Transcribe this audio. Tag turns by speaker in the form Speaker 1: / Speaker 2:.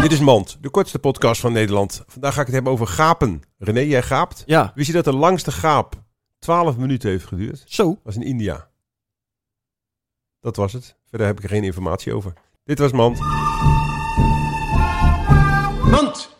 Speaker 1: Dit is Mand, de kortste podcast van Nederland. Vandaag ga ik het hebben over gapen. René, jij gaapt.
Speaker 2: Ja,
Speaker 1: Wist je dat de langste gaap 12 minuten heeft geduurd? Dat
Speaker 2: zo.
Speaker 1: was in India. Dat was het. Verder heb ik er geen informatie over. Dit was Mand.
Speaker 3: Mand,